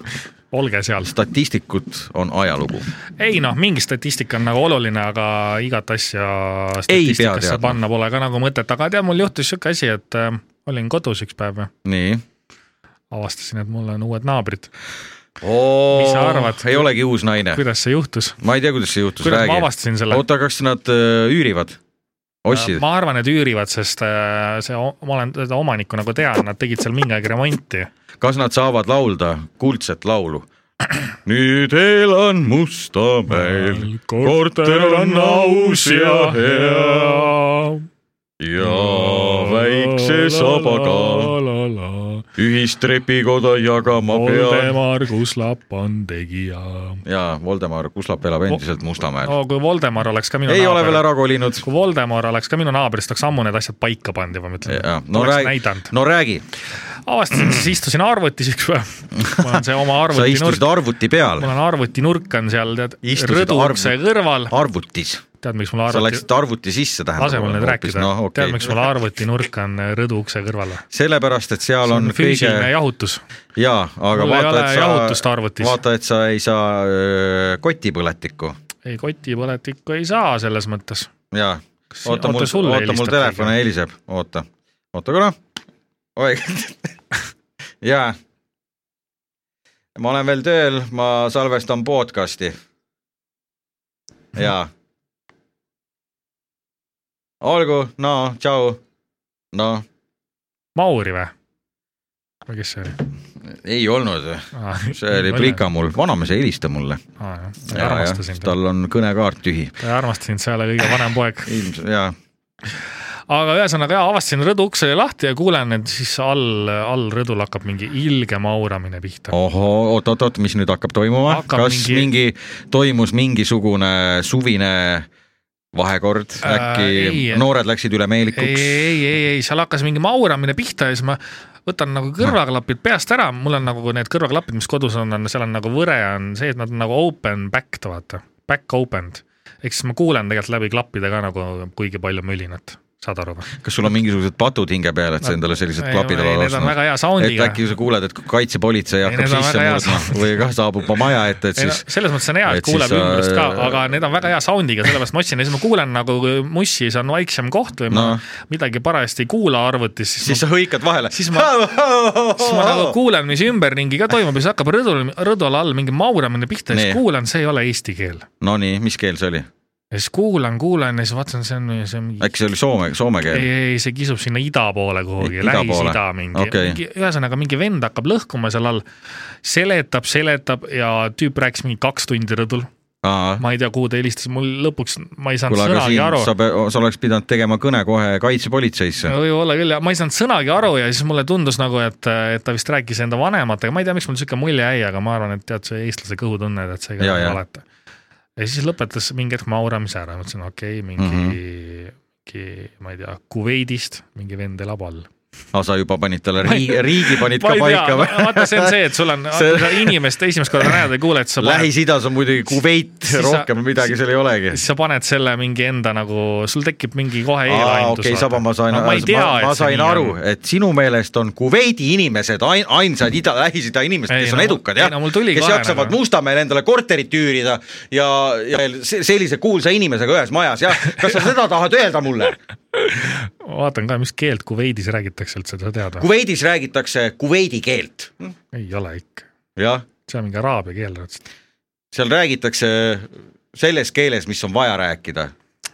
Speaker 4: olge seal .
Speaker 5: statistikud on ajalugu
Speaker 4: ei noh , mingi statistika on nagu oluline , aga igat asja
Speaker 5: Ei pea
Speaker 4: statistikasse
Speaker 5: teadma.
Speaker 4: panna pole ka nagu mõtet , aga tead , mul juhtus sihuke asi , et äh, olin kodus üks päev ja
Speaker 5: nii .
Speaker 4: avastasin , et mul on uued naabrid .
Speaker 5: Eh. mis
Speaker 4: sa arvad?
Speaker 5: ei olegi uus naine .
Speaker 4: kuidas see juhtus ?
Speaker 5: ma ei tea , kuidas see juhtus ,
Speaker 4: kuidas ma
Speaker 5: räägi .
Speaker 4: avastasin selle ? Äh,
Speaker 5: oota , kas nad öö, üürivad ? ostsid ?
Speaker 4: ma arvan , et üürivad , sest äh, see , ma olen seda omanikku nagu tean , nad tegid seal mingi aeg remonti .
Speaker 5: kas nad saavad laulda kuldset laulu ? nüüd elan Mustamäel , korter on aus ja hea ja väikse sabaga , ühistrepikoda jagama pean .
Speaker 4: Voldemar Kuslap on tegija .
Speaker 5: jaa , Voldemar Kuslap elab endiselt Mustamäel .
Speaker 4: no kui Voldemar oleks ka minu
Speaker 5: ei ole veel
Speaker 4: naaber ,
Speaker 5: ära kolinud .
Speaker 4: kui Voldemar oleks ka minu naaber , siis ta oleks ammu need asjad paika pannud juba , ma
Speaker 5: jaa
Speaker 4: ütlen ,
Speaker 5: no
Speaker 4: oleks
Speaker 5: räägi
Speaker 4: näidanud ,
Speaker 5: no räägi ,
Speaker 4: avastasin , siis istusin arvutis üks päev . mul on see oma
Speaker 5: sa istusid
Speaker 4: arvutinurk ,
Speaker 5: arvuti peal
Speaker 4: mul , on arvutinurk on seal tead ,
Speaker 5: Istusid
Speaker 4: rõduukse
Speaker 5: arvuti-
Speaker 4: kõrval ,
Speaker 5: arvutis ,
Speaker 4: tead , miks mul
Speaker 5: sa
Speaker 4: arvuti
Speaker 5: läksid arvuti sisse , tähendab .
Speaker 4: asemel nüüd rääkida
Speaker 5: noh ,
Speaker 4: tead , miks mul
Speaker 5: okei ,
Speaker 4: arvutinurk on rõduukse kõrval ?
Speaker 5: sellepärast , et seal
Speaker 4: see on
Speaker 5: on kõige
Speaker 4: füüsiline jahutus .
Speaker 5: jaa , aga
Speaker 4: Mul ei ole
Speaker 5: vaata , et
Speaker 4: jahutust
Speaker 5: sa ,
Speaker 4: arvutis.
Speaker 5: vaata , et sa ei saa öö, kotipõletikku
Speaker 4: ei , kotipõletikku ei saa selles mõttes .
Speaker 5: jaa .
Speaker 4: Kas-
Speaker 5: oota
Speaker 4: oota,
Speaker 5: mul ,
Speaker 4: sulle
Speaker 5: oota mul
Speaker 4: helistab
Speaker 5: telefon
Speaker 4: keegi?
Speaker 5: heliseb , oota , oota korra . oi , jaa . ma olen veel tööl , ma salvestan podcast'i . jaa . olgu , no tšau . no
Speaker 4: Mauri või ? või kes see oli ?
Speaker 5: ei olnud , see oli . plika mul , vanamees ei helista mulle .
Speaker 4: ta ei armasta sind , ta
Speaker 5: tal on kõnekaart tühi ,
Speaker 4: ei armasta sind , sa ei ole kõige vanem poeg .
Speaker 5: ilmselt jaa ,
Speaker 4: aga ühesõnaga jaa , avastasin rõdu uks oli lahti ja kuulen , et siis all , all rõdul hakkab mingi ilge mauramine pihta .
Speaker 5: Oh, ohoo , oot-oot-oot , mis nüüd hakkab toimuma ,
Speaker 4: Hakkab
Speaker 5: kas mingi...
Speaker 4: mingi-
Speaker 5: mingi , toimus mingisugune suvine vahekord
Speaker 4: Äh,
Speaker 5: äkki
Speaker 4: ei.
Speaker 5: äh, , noored läksid
Speaker 4: ei ,
Speaker 5: ülemeelikuks ?
Speaker 4: ei , ei , ei , seal hakkas mingi mauramine pihta ja siis ma võtan nagu kõrvaklapid peast ära , mul on nagu need kõrvaklapid , mis kodus on, on , seal on nagu võre on see , et nad on nagu open back'd , vaata , back open'd . ehk siis ma kuulen tegelikult läbi klappide ka nagu kuigi palju mülinat , saad aru või ?
Speaker 5: kas sul on mingisugused patud hinge peal , et sa
Speaker 4: Nad-
Speaker 5: endale sellised
Speaker 4: ei,
Speaker 5: klapid
Speaker 4: ei,
Speaker 5: oled
Speaker 4: need on väga hea
Speaker 5: et
Speaker 4: soundiga.
Speaker 5: äkki sa kuuled , et kaitsepolitsei hakkab
Speaker 4: need on
Speaker 5: sisse
Speaker 4: väga hea
Speaker 5: murdma või kah saabub oma maja ette , et
Speaker 4: ei no
Speaker 5: siis
Speaker 4: selles mõttes on hea , et
Speaker 5: et siis
Speaker 4: kuuleb
Speaker 5: sa-
Speaker 4: ümbrust ka , aga need on väga hea sound'iga , sellepärast ma ostsin ja siis ma kuulen nagu kui mussis on vaiksem koht või ma
Speaker 5: No.
Speaker 4: midagi parajasti ei kuula arvutis , siis,
Speaker 5: siis sa hõikad vahele .
Speaker 4: Siis ma- siis ma nagu kuulen , mis ümberringi ka toimub ja siis hakkab rõdul , rõdul all mingi mauramine pihta ja
Speaker 5: Nii.
Speaker 4: siis kuulan , see ei ole eesti keel .
Speaker 5: Nonii , mis keel see oli ?
Speaker 4: ja siis kuulan , kuulan ja siis vaatan , see on , see on mingi ,
Speaker 5: äkki see oli soome , soome
Speaker 4: ei ,
Speaker 5: keel ?
Speaker 4: ei , see kisub sinna ida poole kuhugi ,
Speaker 5: Ida poole.
Speaker 4: Lähis-Ida mingi
Speaker 5: Okei.
Speaker 4: okay. , ühesõnaga mingi vend hakkab lõhkuma seal all , seletab , seletab ja tüüp rääkis mingi kaks tundi rõdul ,
Speaker 5: kuule ,
Speaker 4: ma ei tea , kuhu ta helistas , mul lõpuks , ma ei saanud
Speaker 5: aga
Speaker 4: sõnagi
Speaker 5: siin
Speaker 4: aru
Speaker 5: sa , sa oleks pidanud tegema kõne kohe kaitsepolitseisse .
Speaker 4: võib-olla küll ja ma ei saanud sõnagi aru ja siis mulle tundus nagu , et , et ta vist rääkis enda vanematega , ma ei tea , miks mul sihuke mulje jäi , aga ma arvan , et tead , see eestlase kõhutunne , et see ei
Speaker 5: Jaa,
Speaker 4: ole
Speaker 5: jaa.
Speaker 4: valeta . ja siis lõpetas mingi hetk mauramise ära , mõtlesin okei okay, , mingi
Speaker 5: Mhm.
Speaker 4: mm , -hmm. mingi , ma ei tea , Kuveidist mingi vend elab all .
Speaker 5: aga Ah, sa juba panid talle riigi , riigi panid
Speaker 4: ma
Speaker 5: ka
Speaker 4: ei
Speaker 5: paika
Speaker 4: tea , vaata , see on
Speaker 5: või ?
Speaker 4: see , et sul on
Speaker 5: See-
Speaker 4: see... inimest esimest korda näed ja kuuled , sa paned ,
Speaker 5: Lähis-Idas on muidugi Kuveit
Speaker 4: Siis , sa-
Speaker 5: rohkem midagi seal ei olegi .
Speaker 4: siis sa paned selle mingi enda nagu , sul tekib mingi kohe eelaimus .
Speaker 5: okei , Saba , ma sain ,
Speaker 4: no, , ma, ei tea,
Speaker 5: ma,
Speaker 4: et
Speaker 5: ma
Speaker 4: see
Speaker 5: sain
Speaker 4: nii on.
Speaker 5: aru , et sinu meelest on Kuveidi inimesed ain- , ainsad ida , Lähis-Ida inimesed ,
Speaker 4: Ei,
Speaker 5: kes
Speaker 4: no
Speaker 5: on
Speaker 4: mul-
Speaker 5: edukad ,
Speaker 4: ei,
Speaker 5: jah
Speaker 4: no mul tuli .
Speaker 5: kes
Speaker 4: kohe
Speaker 5: jaksavad
Speaker 4: nagu-
Speaker 5: Mustamäel endale korterit üürida ja , ja veel se- sellise kuulsa inimesega ühes majas , jah . kas sa seda tahad öelda mulle ?
Speaker 4: ma vaatan ka , mis keelt Kuveidis räägitakse üldse , sa tead või ?
Speaker 5: Kuveidis räägitakse kuveidi keelt .
Speaker 4: ei ole ikka .
Speaker 5: jah ,
Speaker 4: see on mingi araabia keel tõenäoliselt .
Speaker 5: seal räägitakse selles keeles , mis on vaja rääkida .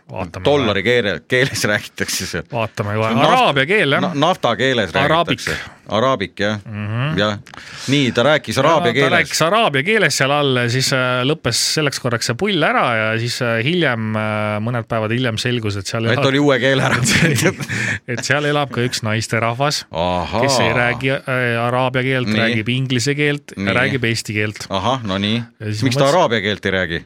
Speaker 4: vaatame .
Speaker 5: dollari keele , keeles räägitakse seal .
Speaker 4: vaatame kohe ,
Speaker 5: See on naft-
Speaker 4: araabia keel jah
Speaker 5: Na, . nafta keeles
Speaker 4: Araabik. Mhm.
Speaker 5: räägitakse . araabik jah mm , -hmm. jah . nii , ta rääkis araabia
Speaker 4: ta
Speaker 5: keeles
Speaker 4: rääkis . araabia keeles seal all , siis äh, lõppes selleks korraks see pull ära ja siis äh, hiljem , mõned päevad hiljem selgus , et seal
Speaker 5: et
Speaker 4: elab ,
Speaker 5: oli uue keele ära mõeldud .
Speaker 4: et seal elab ka üks naisterahvas ,
Speaker 5: ahhaa .
Speaker 4: kes ei räägi äh, araabia keelt ,
Speaker 5: Nii.
Speaker 4: räägib inglise keelt
Speaker 5: Nii.
Speaker 4: ja räägib eesti keelt .
Speaker 5: ahah , no nii .
Speaker 4: Ja siis
Speaker 5: miks ta
Speaker 4: ma mõtlesin-
Speaker 5: araabia keelt ei räägi ?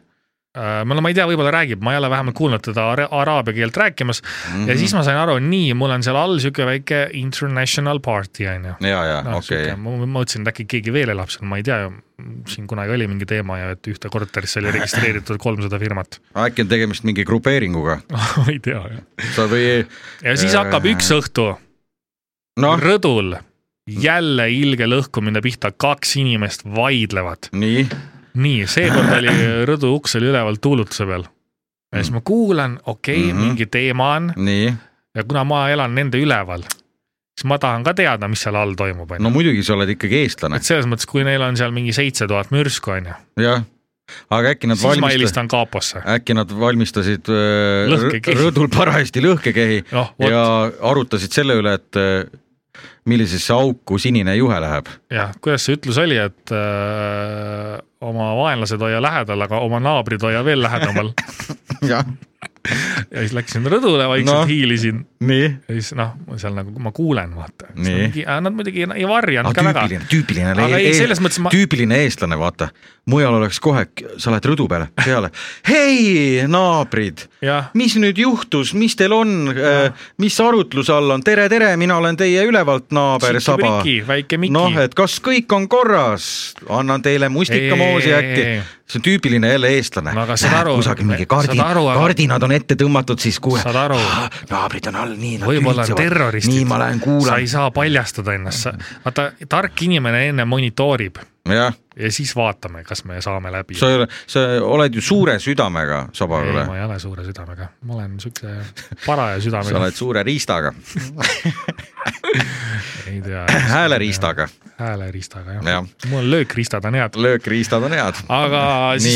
Speaker 4: no Äh, ma ei tea , võib-olla räägib , ma ei ole vähemalt kuulnud teda ara- araabia keelt rääkimas mm -hmm. ja siis ma sain aru , nii , mul on seal all sihuke väike international party onju
Speaker 5: ja , ja
Speaker 4: noh ,
Speaker 5: okei
Speaker 4: sihuke , ma ma mõtlesin , et äkki keegi veel elab seal , ma ei tea , siin kunagi oli mingi teema ja et ühte korterisse oli registreeritud kolmsada firmat .
Speaker 5: äkki on tegemist mingi grupeeringuga
Speaker 4: ma ei tea jah . Äh.
Speaker 5: sa või
Speaker 4: ja siis hakkab üks õhtu Ah.
Speaker 5: noh ,
Speaker 4: rõdul jälle ilge lõhkumine pihta , kaks inimest vaidlevad .
Speaker 5: nii ,
Speaker 4: nii , seekord oli rõdu uks oli üleval tuulutuse peal . ja siis ma kuulan , okei okay, ,
Speaker 5: Mhm.
Speaker 4: mingi teema on
Speaker 5: nii .
Speaker 4: ja kuna ma elan nende üleval , siis ma tahan ka teada , mis seal all toimub ,
Speaker 5: no
Speaker 4: onju .
Speaker 5: muidugi sa oled ikkagi eestlane
Speaker 4: et , selles mõttes , kui neil on seal mingi seitse tuhat mürsku , onju
Speaker 5: jah . aga äkki nad
Speaker 4: siis ma
Speaker 5: valmistasid ,
Speaker 4: helistan kaaposse .
Speaker 5: äkki nad valmistasid äh,
Speaker 4: Lõhkekehi.
Speaker 5: rõ- rõdul parajasti lõhkekehi
Speaker 4: Noh, vot.
Speaker 5: ja arutasid selle üle , et äh, millisesse auku sinine juhe läheb .
Speaker 4: jah , kuidas see ütlus oli , et öö, oma vaenlased hoia lähedal , aga oma naabrid hoia veel lähedamal .
Speaker 5: jah ,
Speaker 4: ja siis läksin rõdule , vaikselt
Speaker 5: Noh.
Speaker 4: no. hiilisin
Speaker 5: nii .
Speaker 4: ja siis noh , seal nagu ma kuulen , vaata .
Speaker 5: Nii.
Speaker 4: Nad muidugi ei varjanud
Speaker 5: No,
Speaker 4: ka väga .
Speaker 5: tüüpiline , tüüpiline
Speaker 4: Aga ei, selles mõttes ma-
Speaker 5: tüüpiline eestlane , vaata , mujal oleks kohe , sa lähed rõdu peale , peale , hei naabrid
Speaker 4: Jah. ,
Speaker 5: mis nüüd juhtus , mis teil on , mis arutluse all on , tere , tere , mina olen teie ülevalt naaber ,
Speaker 4: Siki
Speaker 5: saba
Speaker 4: priki, väike Miki.
Speaker 5: noh , et kas kõik on korras , annan teile
Speaker 4: Ei,
Speaker 5: mustikamoosi
Speaker 4: ei,
Speaker 5: äkki
Speaker 4: ei, ei. .
Speaker 5: see on tüüpiline jälle eestlane .
Speaker 4: No aga saad aru-
Speaker 5: kusagil mingi
Speaker 4: saad
Speaker 5: kardin ,
Speaker 4: aru, aga-
Speaker 5: kardinad on ette tõmmatud , siis kuule
Speaker 4: Saad aru- ,
Speaker 5: naabrid on all , nii nad
Speaker 4: võib-olla on terroristid .
Speaker 5: nii ma lähen
Speaker 4: sa
Speaker 5: kuulan
Speaker 4: ei . saa paljastada ennast , vaata tark inimene enne monitoorib
Speaker 5: jah ,
Speaker 4: ja siis vaatame , kas me saame läbi .
Speaker 5: sa ei ole , sa oled ju suure südamega , saba ,
Speaker 4: ei ,
Speaker 5: ole
Speaker 4: ma ei ole suure südamega , ma olen siukse paraja südamega .
Speaker 5: sa oled suure riistaga ,
Speaker 4: ei tea .
Speaker 5: hääleriistaga ,
Speaker 4: hääleriistaga jah ja.
Speaker 5: Jah. .
Speaker 4: mul löökriistad on head .
Speaker 5: löökriistad on head .
Speaker 4: aga siis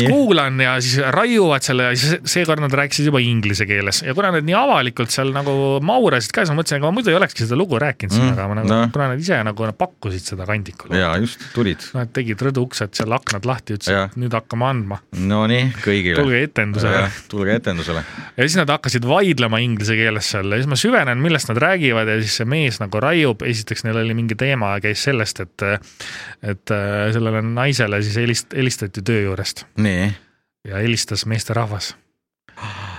Speaker 5: Nii.
Speaker 4: Nii. kuulan ja siis raiuvad selle ja siis seekord nad rääkisid juba inglise keeles ja kuna nad nii avalikult seal nagu maurasid ka , siis ma mõtlesin , ega ma muidu ei olekski seda lugu rääkinud siin
Speaker 5: Mm,
Speaker 4: mm, , aga ma nagu no.
Speaker 5: noh. ,
Speaker 4: kuna nad ise nagu nad pakkusid seda kandikul .
Speaker 5: ja just tulid
Speaker 4: Nad tegid rõduuksed seal , aknad lahti , ütlesid ,
Speaker 5: Jah.
Speaker 4: et nüüd hakkame andma ,
Speaker 5: Nonii , kõigile .
Speaker 4: tulge etendusele .
Speaker 5: tulge etendusele .
Speaker 4: ja siis nad hakkasid vaidlema inglise keeles seal ja siis ma süvenen , millest nad räägivad ja siis see mees nagu raiub , esiteks neil oli mingi teema , käis sellest , et et äh, sellele naisele siis helist- , helistati töö juurest
Speaker 5: nii ,
Speaker 4: ja helistas meesterahvas .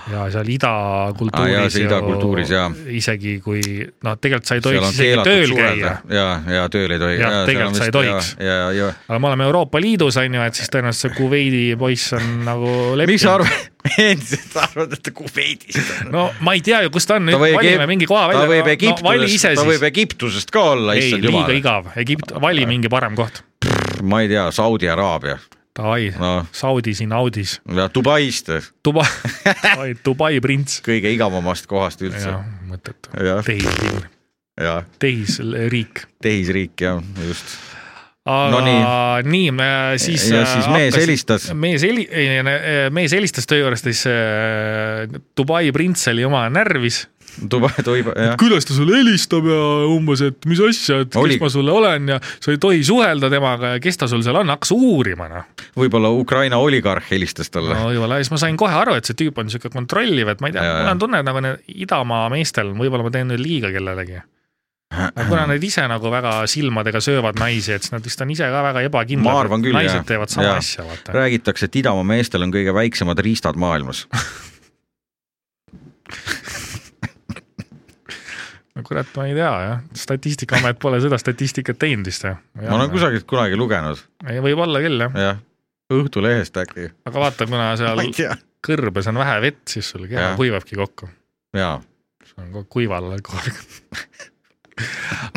Speaker 4: ja
Speaker 5: Aa,
Speaker 4: seal
Speaker 5: jaa,
Speaker 4: idakultuuris
Speaker 5: see idakultuuris, jaa.
Speaker 4: isegi kui noh , tegelikult sa ei
Speaker 5: seal
Speaker 4: tohiks
Speaker 5: on
Speaker 4: isegi
Speaker 5: keelatud
Speaker 4: tööl
Speaker 5: suhelda
Speaker 4: käia ,
Speaker 5: ja , ja tööl ei tohi .
Speaker 4: Jah, tegelikult sa ei tohiks.
Speaker 5: ja , ja, ja. ,
Speaker 4: aga me oleme Euroopa Liidus on ju , et siis tõenäoliselt see Kuveidi poiss on nagu
Speaker 5: ja. miks
Speaker 4: leppinud
Speaker 5: sa . arvad , endiselt arvad , et ta Kuveidist on ?
Speaker 4: no ma ei tea ju , kus ta on ,
Speaker 5: ta
Speaker 4: nüüd
Speaker 5: võib
Speaker 4: valime mingi koha
Speaker 5: ta võib
Speaker 4: välja , no vali
Speaker 5: Egiptusest
Speaker 4: ise ,
Speaker 5: ta
Speaker 4: siis
Speaker 5: võib Egiptusest ka olla ,
Speaker 4: ei ,
Speaker 5: issand
Speaker 4: liiga
Speaker 5: jumal .
Speaker 4: igav , Egipt , vali mingi parem koht .
Speaker 5: ma ei tea , Saudi Araabia
Speaker 4: Davai
Speaker 5: No.
Speaker 4: no. , Saudi siin audis ,
Speaker 5: ja Dubaist ,
Speaker 4: Dubai , Dubai prints .
Speaker 5: kõige igavamast kohast üldse
Speaker 4: jah , mõttetu
Speaker 5: Jah. .
Speaker 4: tehislinn ,
Speaker 5: ja
Speaker 4: tehisriik .
Speaker 5: tehisriik ja just .
Speaker 4: aga
Speaker 5: No
Speaker 4: no
Speaker 5: nii.
Speaker 4: nii, nii , siis .
Speaker 5: Ja siis mees helistas.
Speaker 4: mees heli- , äh, mees helistas töö juures , siis äh, Dubai prints oli oma närvis .
Speaker 5: Dubai , Dubai , jah ,
Speaker 4: Äh? kuidas ta sulle helistab ja umbes , et mis asja , et
Speaker 5: Oli-
Speaker 4: kes ma sulle olen ja sa ei tohi suhelda temaga ja kes ta sul seal on , hakkas uurima noh .
Speaker 5: võib-olla Ukraina oligarh helistas talle
Speaker 4: no
Speaker 5: no. .
Speaker 4: võib-olla , siis ma sain kohe aru , et see tüüp on niisugune kontrolliv , et ma ei tea
Speaker 5: Jaa, , jaa.
Speaker 4: mul on tunne , et nagu need idamaa meestel , võib-olla ma teen nüüd liiga kellelegi . aga kuna nad ise nagu väga silmadega söövad naisi , et siis nad vist on ise ka väga
Speaker 5: ma
Speaker 4: ebakindlad
Speaker 5: arvan , küll ,
Speaker 4: naised teevad sama asja , vaata .
Speaker 5: räägitakse , et idamaa meestel on kõige väiksemad riistad maailmas .
Speaker 4: no kurat , ma ei tea jah , Statistikaamet pole seda statistikat teinud vist või ?
Speaker 5: ma olen . kusagilt kunagi lugenud ,
Speaker 4: võib-olla küll jah ,
Speaker 5: jah , Õhtulehest äkki ,
Speaker 4: aga vaata , kuna seal
Speaker 5: ma ei tea .
Speaker 4: kõrbes on vähe vett , siis sul keha
Speaker 5: Jah.
Speaker 4: kuivabki kokku .
Speaker 5: jaa ,
Speaker 4: see on kogu aeg kuival all kogu aeg .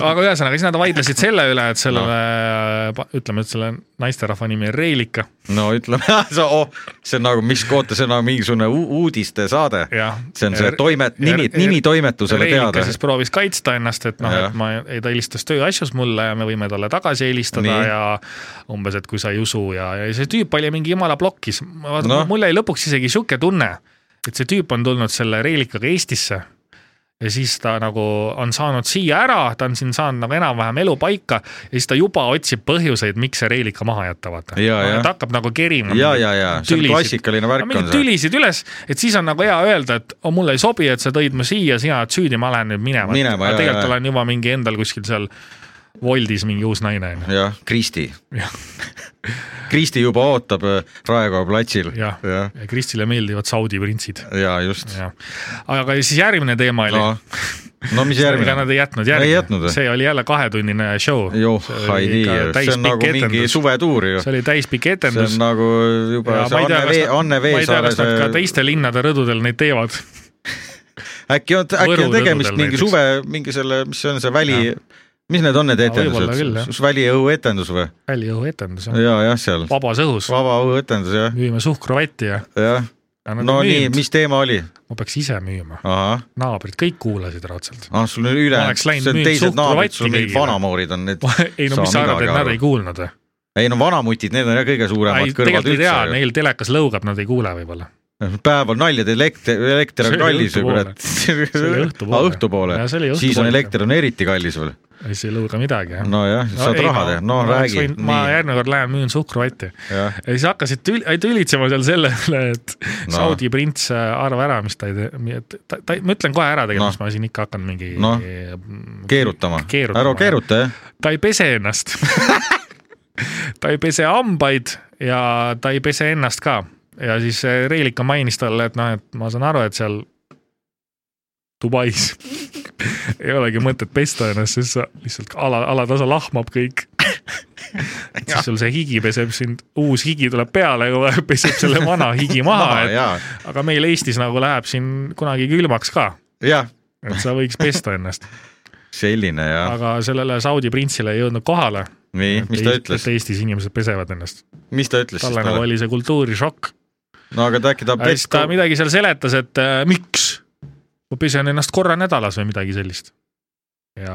Speaker 4: aga ühesõnaga , siis nad vaidlesid selle üle , et sellele no. , ütleme , et selle naisterahva nimi on Reelika ,
Speaker 5: no ütleme , see, oh, see on nagu , mis koota , see on nagu mingisugune u- uudistesaade .
Speaker 4: jah .
Speaker 5: see on
Speaker 4: Er-
Speaker 5: see toimet- , nimi , nimi toimetusele teada
Speaker 4: Reelika . siis proovis kaitsta ennast , et noh ,
Speaker 5: Jah.
Speaker 4: et ma , ta helistas tööasjus mulle ja me võime talle tagasi helistada Nii.
Speaker 5: Nii.
Speaker 4: ja umbes , et kui sa ei usu ja , ja see tüüp oli mingi jumala plokis . No.
Speaker 5: Noh.
Speaker 4: mul jäi lõpuks isegi sihuke tunne , et see tüüp on tulnud selle reelikaga Eestisse ja siis ta nagu on saanud siia ära , ta on siin saanud nagu enam-vähem elupaika ja siis ta juba otsib põhjuseid , miks see reelika maha jätta , vaata .
Speaker 5: Jaa, jah.
Speaker 4: ta hakkab nagu kerima .
Speaker 5: ja , ja , ja see on klassikaline
Speaker 4: Aga
Speaker 5: värk on
Speaker 4: mingid
Speaker 5: see .
Speaker 4: tülisid üles , et siis on nagu hea öelda , et oh, mulle ei sobi , et sa tõid mu siia , sina oled süüdi , ma lähen nüüd minema,
Speaker 5: Minema,
Speaker 4: aga
Speaker 5: jaa,
Speaker 4: tegelikult
Speaker 5: jaa.
Speaker 4: tal on juba mingi endal kuskil seal Woldis mingi uus naine onju .
Speaker 5: jah , Kristi
Speaker 4: Jah. .
Speaker 5: Kristi juba ootab äh, Raekoja platsil .
Speaker 4: jah ja.
Speaker 5: ja, ,
Speaker 4: Kristile meeldivad Saudi printsid .
Speaker 5: ja just .
Speaker 4: jah , aga siis järgmine teema oli
Speaker 5: no , no mis
Speaker 4: ega
Speaker 5: järgmine ?
Speaker 4: nad ei jätnud
Speaker 5: Ei jätnud
Speaker 4: järgi ,
Speaker 5: või?
Speaker 4: see oli jälle kahetunnine show .
Speaker 5: joh , ei tea , see on nagu mingi suvetuur ju .
Speaker 4: see oli täispikk
Speaker 5: see
Speaker 4: etendus
Speaker 5: on . nagu juba see Anne Vee , Anne
Speaker 4: ma ei tea ,
Speaker 5: Veesaare
Speaker 4: kas nad ka
Speaker 5: see
Speaker 4: teiste linnade rõdudel neid teevad .
Speaker 5: äkki on , äkki
Speaker 4: Võru
Speaker 5: on tegemist
Speaker 4: rõdudel
Speaker 5: mingi
Speaker 4: näiteks.
Speaker 5: suve , mingi selle , mis see on see väli , mis need on need
Speaker 4: võib-olla küll, jah.
Speaker 5: etendused , väliõhuetendus või ?
Speaker 4: väliõhuetendus ,
Speaker 5: ja jah , seal
Speaker 4: vabas õhus ,
Speaker 5: vaba õhuetendus jah ,
Speaker 4: müüme suhkruvätti ja .
Speaker 5: jah . no nii , mis teema oli ?
Speaker 4: ma peaks ise müüma ,
Speaker 5: ahah ,
Speaker 4: naabrid kõik kuulasid raudselt .
Speaker 5: ah sul on üle
Speaker 4: Ma , oleks läinud
Speaker 5: see on
Speaker 4: müünud
Speaker 5: teised naabrid ,
Speaker 4: suhkruratti
Speaker 5: sul on mingid
Speaker 4: kõigile.
Speaker 5: vanamoorid on need .
Speaker 4: ei no mis sa arvad , et nad ei kuulnud või ?
Speaker 5: ei no vanamutid , need on jah kõige
Speaker 4: ei ,
Speaker 5: suuremad kõrvad
Speaker 4: tegelikult ei tea ,
Speaker 5: üldse .
Speaker 4: neil telekas lõugab , nad ei kuule võib-olla .
Speaker 5: päeval naljad , elekter , elekter
Speaker 4: See
Speaker 5: on
Speaker 4: oli
Speaker 5: kallis ju
Speaker 4: õhtupoole.
Speaker 5: kurat .
Speaker 4: See oli õhtupoole.
Speaker 5: õhtupoole
Speaker 4: Jaa, see oli ,
Speaker 5: siis on
Speaker 4: õhtupoole.
Speaker 5: elekter on eriti kallis veel .
Speaker 4: ei , see ei lõuga midagi jah .
Speaker 5: nojah , saad raha teha , no räägi .
Speaker 4: ma järgmine kord lähen müün suhkruvatti .
Speaker 5: Jah.
Speaker 4: ja siis hakkasid tül- , tülitsema seal selle üle , et no.
Speaker 5: No.
Speaker 4: Saudi prints äh, arva ära , mis ta ei tee , ta , ta , ma ütlen kohe ära
Speaker 5: Noh.
Speaker 4: tegelikult no. , ma siin ikka hakkan mingi mm,
Speaker 5: Noh. keerutama,
Speaker 4: Keerutama,
Speaker 5: ära
Speaker 4: jah.
Speaker 5: keeruta jah ,
Speaker 4: ta ei pese ennast . ta ei pese hambaid ja ta ei pese ennast ka ja siis see Reelika mainis talle , et noh , et ma saan aru , et seal Dubais ei olegi mõtet pesta ennast , sest sa lihtsalt ala , alatasa lahmab kõik . siis sul see higi peseb sind , uus higi tuleb peale , peseb selle vana higi maha , et
Speaker 5: jaa ,
Speaker 4: aga meil Eestis nagu läheb siin kunagi külmaks ka ,
Speaker 5: jah ,
Speaker 4: et sa võiks pesta ennast ,
Speaker 5: selline ja
Speaker 4: aga sellele Saudi printsile ei jõudnud kohale
Speaker 5: nii , mis ta ütles ,
Speaker 4: et Eestis inimesed pesevad ennast .
Speaker 5: mis ta ütles siis
Speaker 4: talle nagu
Speaker 5: talle ?
Speaker 4: oli see kultuurishokk .
Speaker 5: no aga ta äkki tahab
Speaker 4: siis
Speaker 5: pesta
Speaker 4: ta , midagi seal seletas , et äh, miks ma pesen ennast korra nädalas või midagi sellist . ja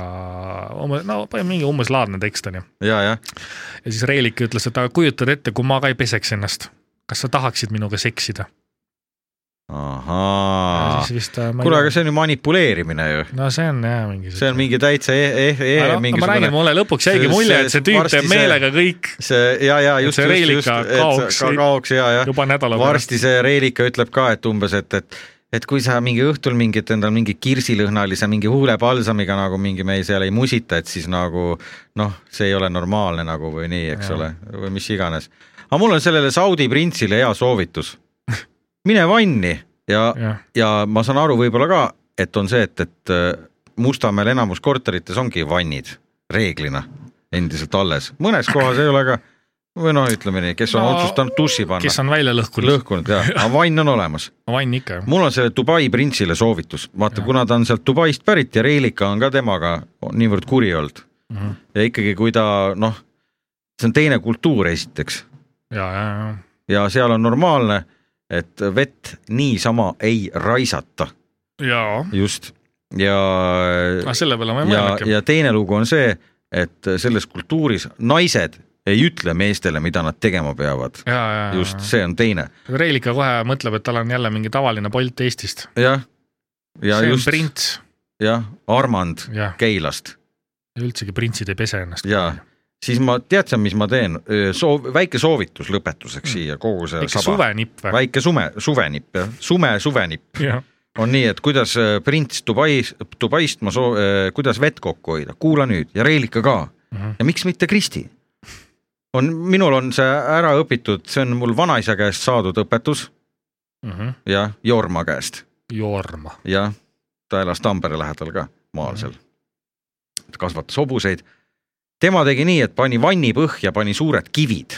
Speaker 4: umbes , no mingi umbes-laadne tekst onju .
Speaker 5: ja , jah ,
Speaker 4: ja siis Reelik ütles , et aga kujutad ette , kui ma ka ei peseks ennast . kas sa tahaksid minuga seksida ?
Speaker 5: ahaa ,
Speaker 4: siis vist äh, ma ei
Speaker 5: kuule , aga
Speaker 4: tea.
Speaker 5: see on ju manipuleerimine ju ,
Speaker 4: no see on jah mingi .
Speaker 5: see on mingi täitsa e- , e- , e-
Speaker 4: aga noh , ma räägin ,
Speaker 5: mingisugune
Speaker 4: mulle lõpuks jäigi
Speaker 5: see-
Speaker 4: mulje , et
Speaker 5: see-
Speaker 4: see tüüp
Speaker 5: varsti
Speaker 4: teeb
Speaker 5: see-
Speaker 4: meelega kõik
Speaker 5: see ja , ja just ,
Speaker 4: see
Speaker 5: just ,
Speaker 4: reelika
Speaker 5: just , et
Speaker 4: kaoks-
Speaker 5: see ka kaoks ja , ja
Speaker 4: juba nädala pärast .
Speaker 5: varsti see reelika ütleb ka , et umbes , et , et et kui sa mingi õhtul mingit endal mingi kirsilõhnalise mingi huulepalsamiga nagu mingi me seal ei musita , et siis nagu noh , see ei ole normaalne nagu või nii , eks
Speaker 4: Jaa.
Speaker 5: ja. ole , või mis iganes . aga mul on sellele Saudi printsile hea soovitus . mine vanni ja ,
Speaker 4: jah ,
Speaker 5: ja ma saan aru võib-olla ka , et on see , et , et äh, Mustamäel enamus korterites ongi vannid reeglina endiselt alles , mõnes kohas ei ole ka või noh , ütleme nii , kes on
Speaker 4: No,
Speaker 5: no, otsustanud duši panna .
Speaker 4: kes on välja lõhkunud ,
Speaker 5: lõhkunud ja , aga vann on olemas .
Speaker 4: vann ikka ju .
Speaker 5: mul on selle Dubai printsile soovitus , vaata , kuna ta on sealt Dubaist pärit ja Reelika on ka temaga niivõrd kuri olnud
Speaker 4: Mhm.
Speaker 5: ja ikkagi , kui ta noh , see on teine kultuur esiteks
Speaker 4: ja , ja , ja
Speaker 5: ja seal on normaalne , et vett niisama ei raisata ,
Speaker 4: jaa ,
Speaker 5: just ja
Speaker 4: aga selle peale ma ei
Speaker 5: ja ,
Speaker 4: mõelnudki .
Speaker 5: ja teine lugu on see , et selles kultuuris naised ei ütle meestele , mida nad tegema peavad ,
Speaker 4: ja , ja ,
Speaker 5: just see on teine ,
Speaker 4: Reelika kohe mõtleb , et tal on jälle mingi tavaline Bolt Eestist .
Speaker 5: jah . ja
Speaker 4: see
Speaker 5: just
Speaker 4: on , prints
Speaker 5: jah , Armand
Speaker 4: ja
Speaker 5: Keilast
Speaker 4: üldsegi printsid ei pese ennast .
Speaker 5: ja siis ma , tead sa , mis ma teen , soov , väike soovitus lõpetuseks siia kogu see
Speaker 4: ikka . suvenipp või ?
Speaker 5: väike sume , suvenipp jah , sume suvenipp
Speaker 4: jah ,
Speaker 5: on nii , et kuidas öö, prints Dubais , Dubaist ma soo- , kuidas vett kokku hoida , kuula nüüd ja Reelika ka
Speaker 4: Mhm.
Speaker 5: ja miks mitte Kristi . on , minul on see ära õpitud , see on mul vanaisa käest saadud õpetus
Speaker 4: mhm.
Speaker 5: ja Jorma käest
Speaker 4: joorma .
Speaker 5: jah , ta elas Tampere lähedal ka maal seal . ta kasvatas hobuseid . tema tegi nii , et pani vanni põhja , pani suured kivid .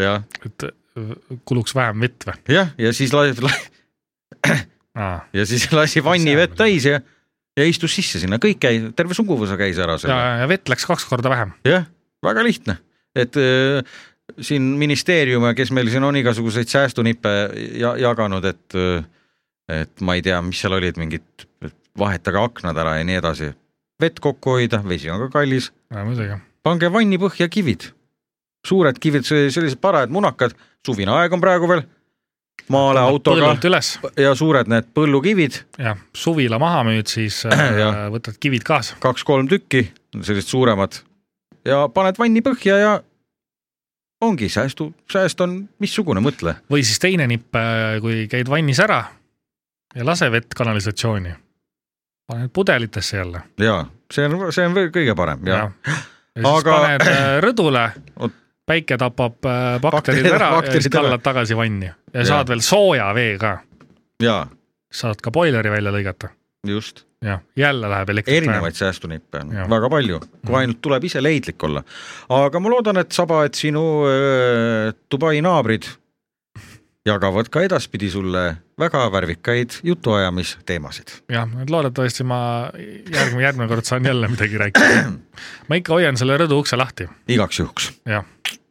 Speaker 5: jah ,
Speaker 4: et äh, kuluks vähem vett või ?
Speaker 5: jah , ja siis la- , la-
Speaker 4: aa ,
Speaker 5: ja siis lasi vanni vett täis ja ja istus sisse sinna , kõik käis , terve suguvõsa käis ära
Speaker 4: ja
Speaker 5: seal ,,
Speaker 4: ja vett läks kaks korda vähem .
Speaker 5: jah , väga lihtne , et öö, siin ministeerium ja kes meil siin on igasuguseid säästunippe ja jaganud , et , et ma ei tea , mis seal olid , mingid vahetage aknad ära ja nii edasi , vett kokku hoida , vesi on ka kallis ,
Speaker 4: muidugi .
Speaker 5: pange vanni põhja kivid , suured kivid , sellised parajad munakad , suvine aeg on praegu veel , maale autoga
Speaker 4: põllult üles
Speaker 5: ja suured need põllukivid ,
Speaker 4: ja suvila maha müüd , siis äh,
Speaker 5: Jah.
Speaker 4: võtad kivid kaasa .
Speaker 5: kaks-kolm tükki , sellised suuremad ja paned vanni põhja ja ongi säästu , sääst on missugune , mõtle .
Speaker 4: või siis teine nipp , kui käid vannis ära ja lase vett kanalisatsiooni , paned pudelitesse jälle
Speaker 5: jaa , see on , see on veel kõige parem ja,
Speaker 4: ja, ja siis Aga...
Speaker 5: Aga-
Speaker 4: paned äh, rõdule
Speaker 5: Oot. .
Speaker 4: päike tapab äh, bakterid
Speaker 5: Bakterid-
Speaker 4: ära ja siis
Speaker 5: bakterid ära.
Speaker 4: kallad tagasi vanni ja, ja
Speaker 5: Jaa.
Speaker 4: saad veel sooja vee ka ,
Speaker 5: ja. ,
Speaker 4: saad ka boileri välja lõigata
Speaker 5: jaa , just .
Speaker 4: ja jälle läheb elektrit vähem .
Speaker 5: erinevaid säästunippe on
Speaker 4: Jaa.
Speaker 5: väga palju , kui ainult tuleb ise leidlik olla . aga ma loodan , et Saba , et sinu öö, Dubai naabrid jagavad ka edaspidi sulle väga värvikaid jutuajamisteemasid .
Speaker 4: jah , et loodetavasti ma järgmine , järgmine kord saan jälle midagi rääkida . ma ikka hoian selle rõdu ukse lahti ,
Speaker 5: igaks juhuks .
Speaker 4: jah .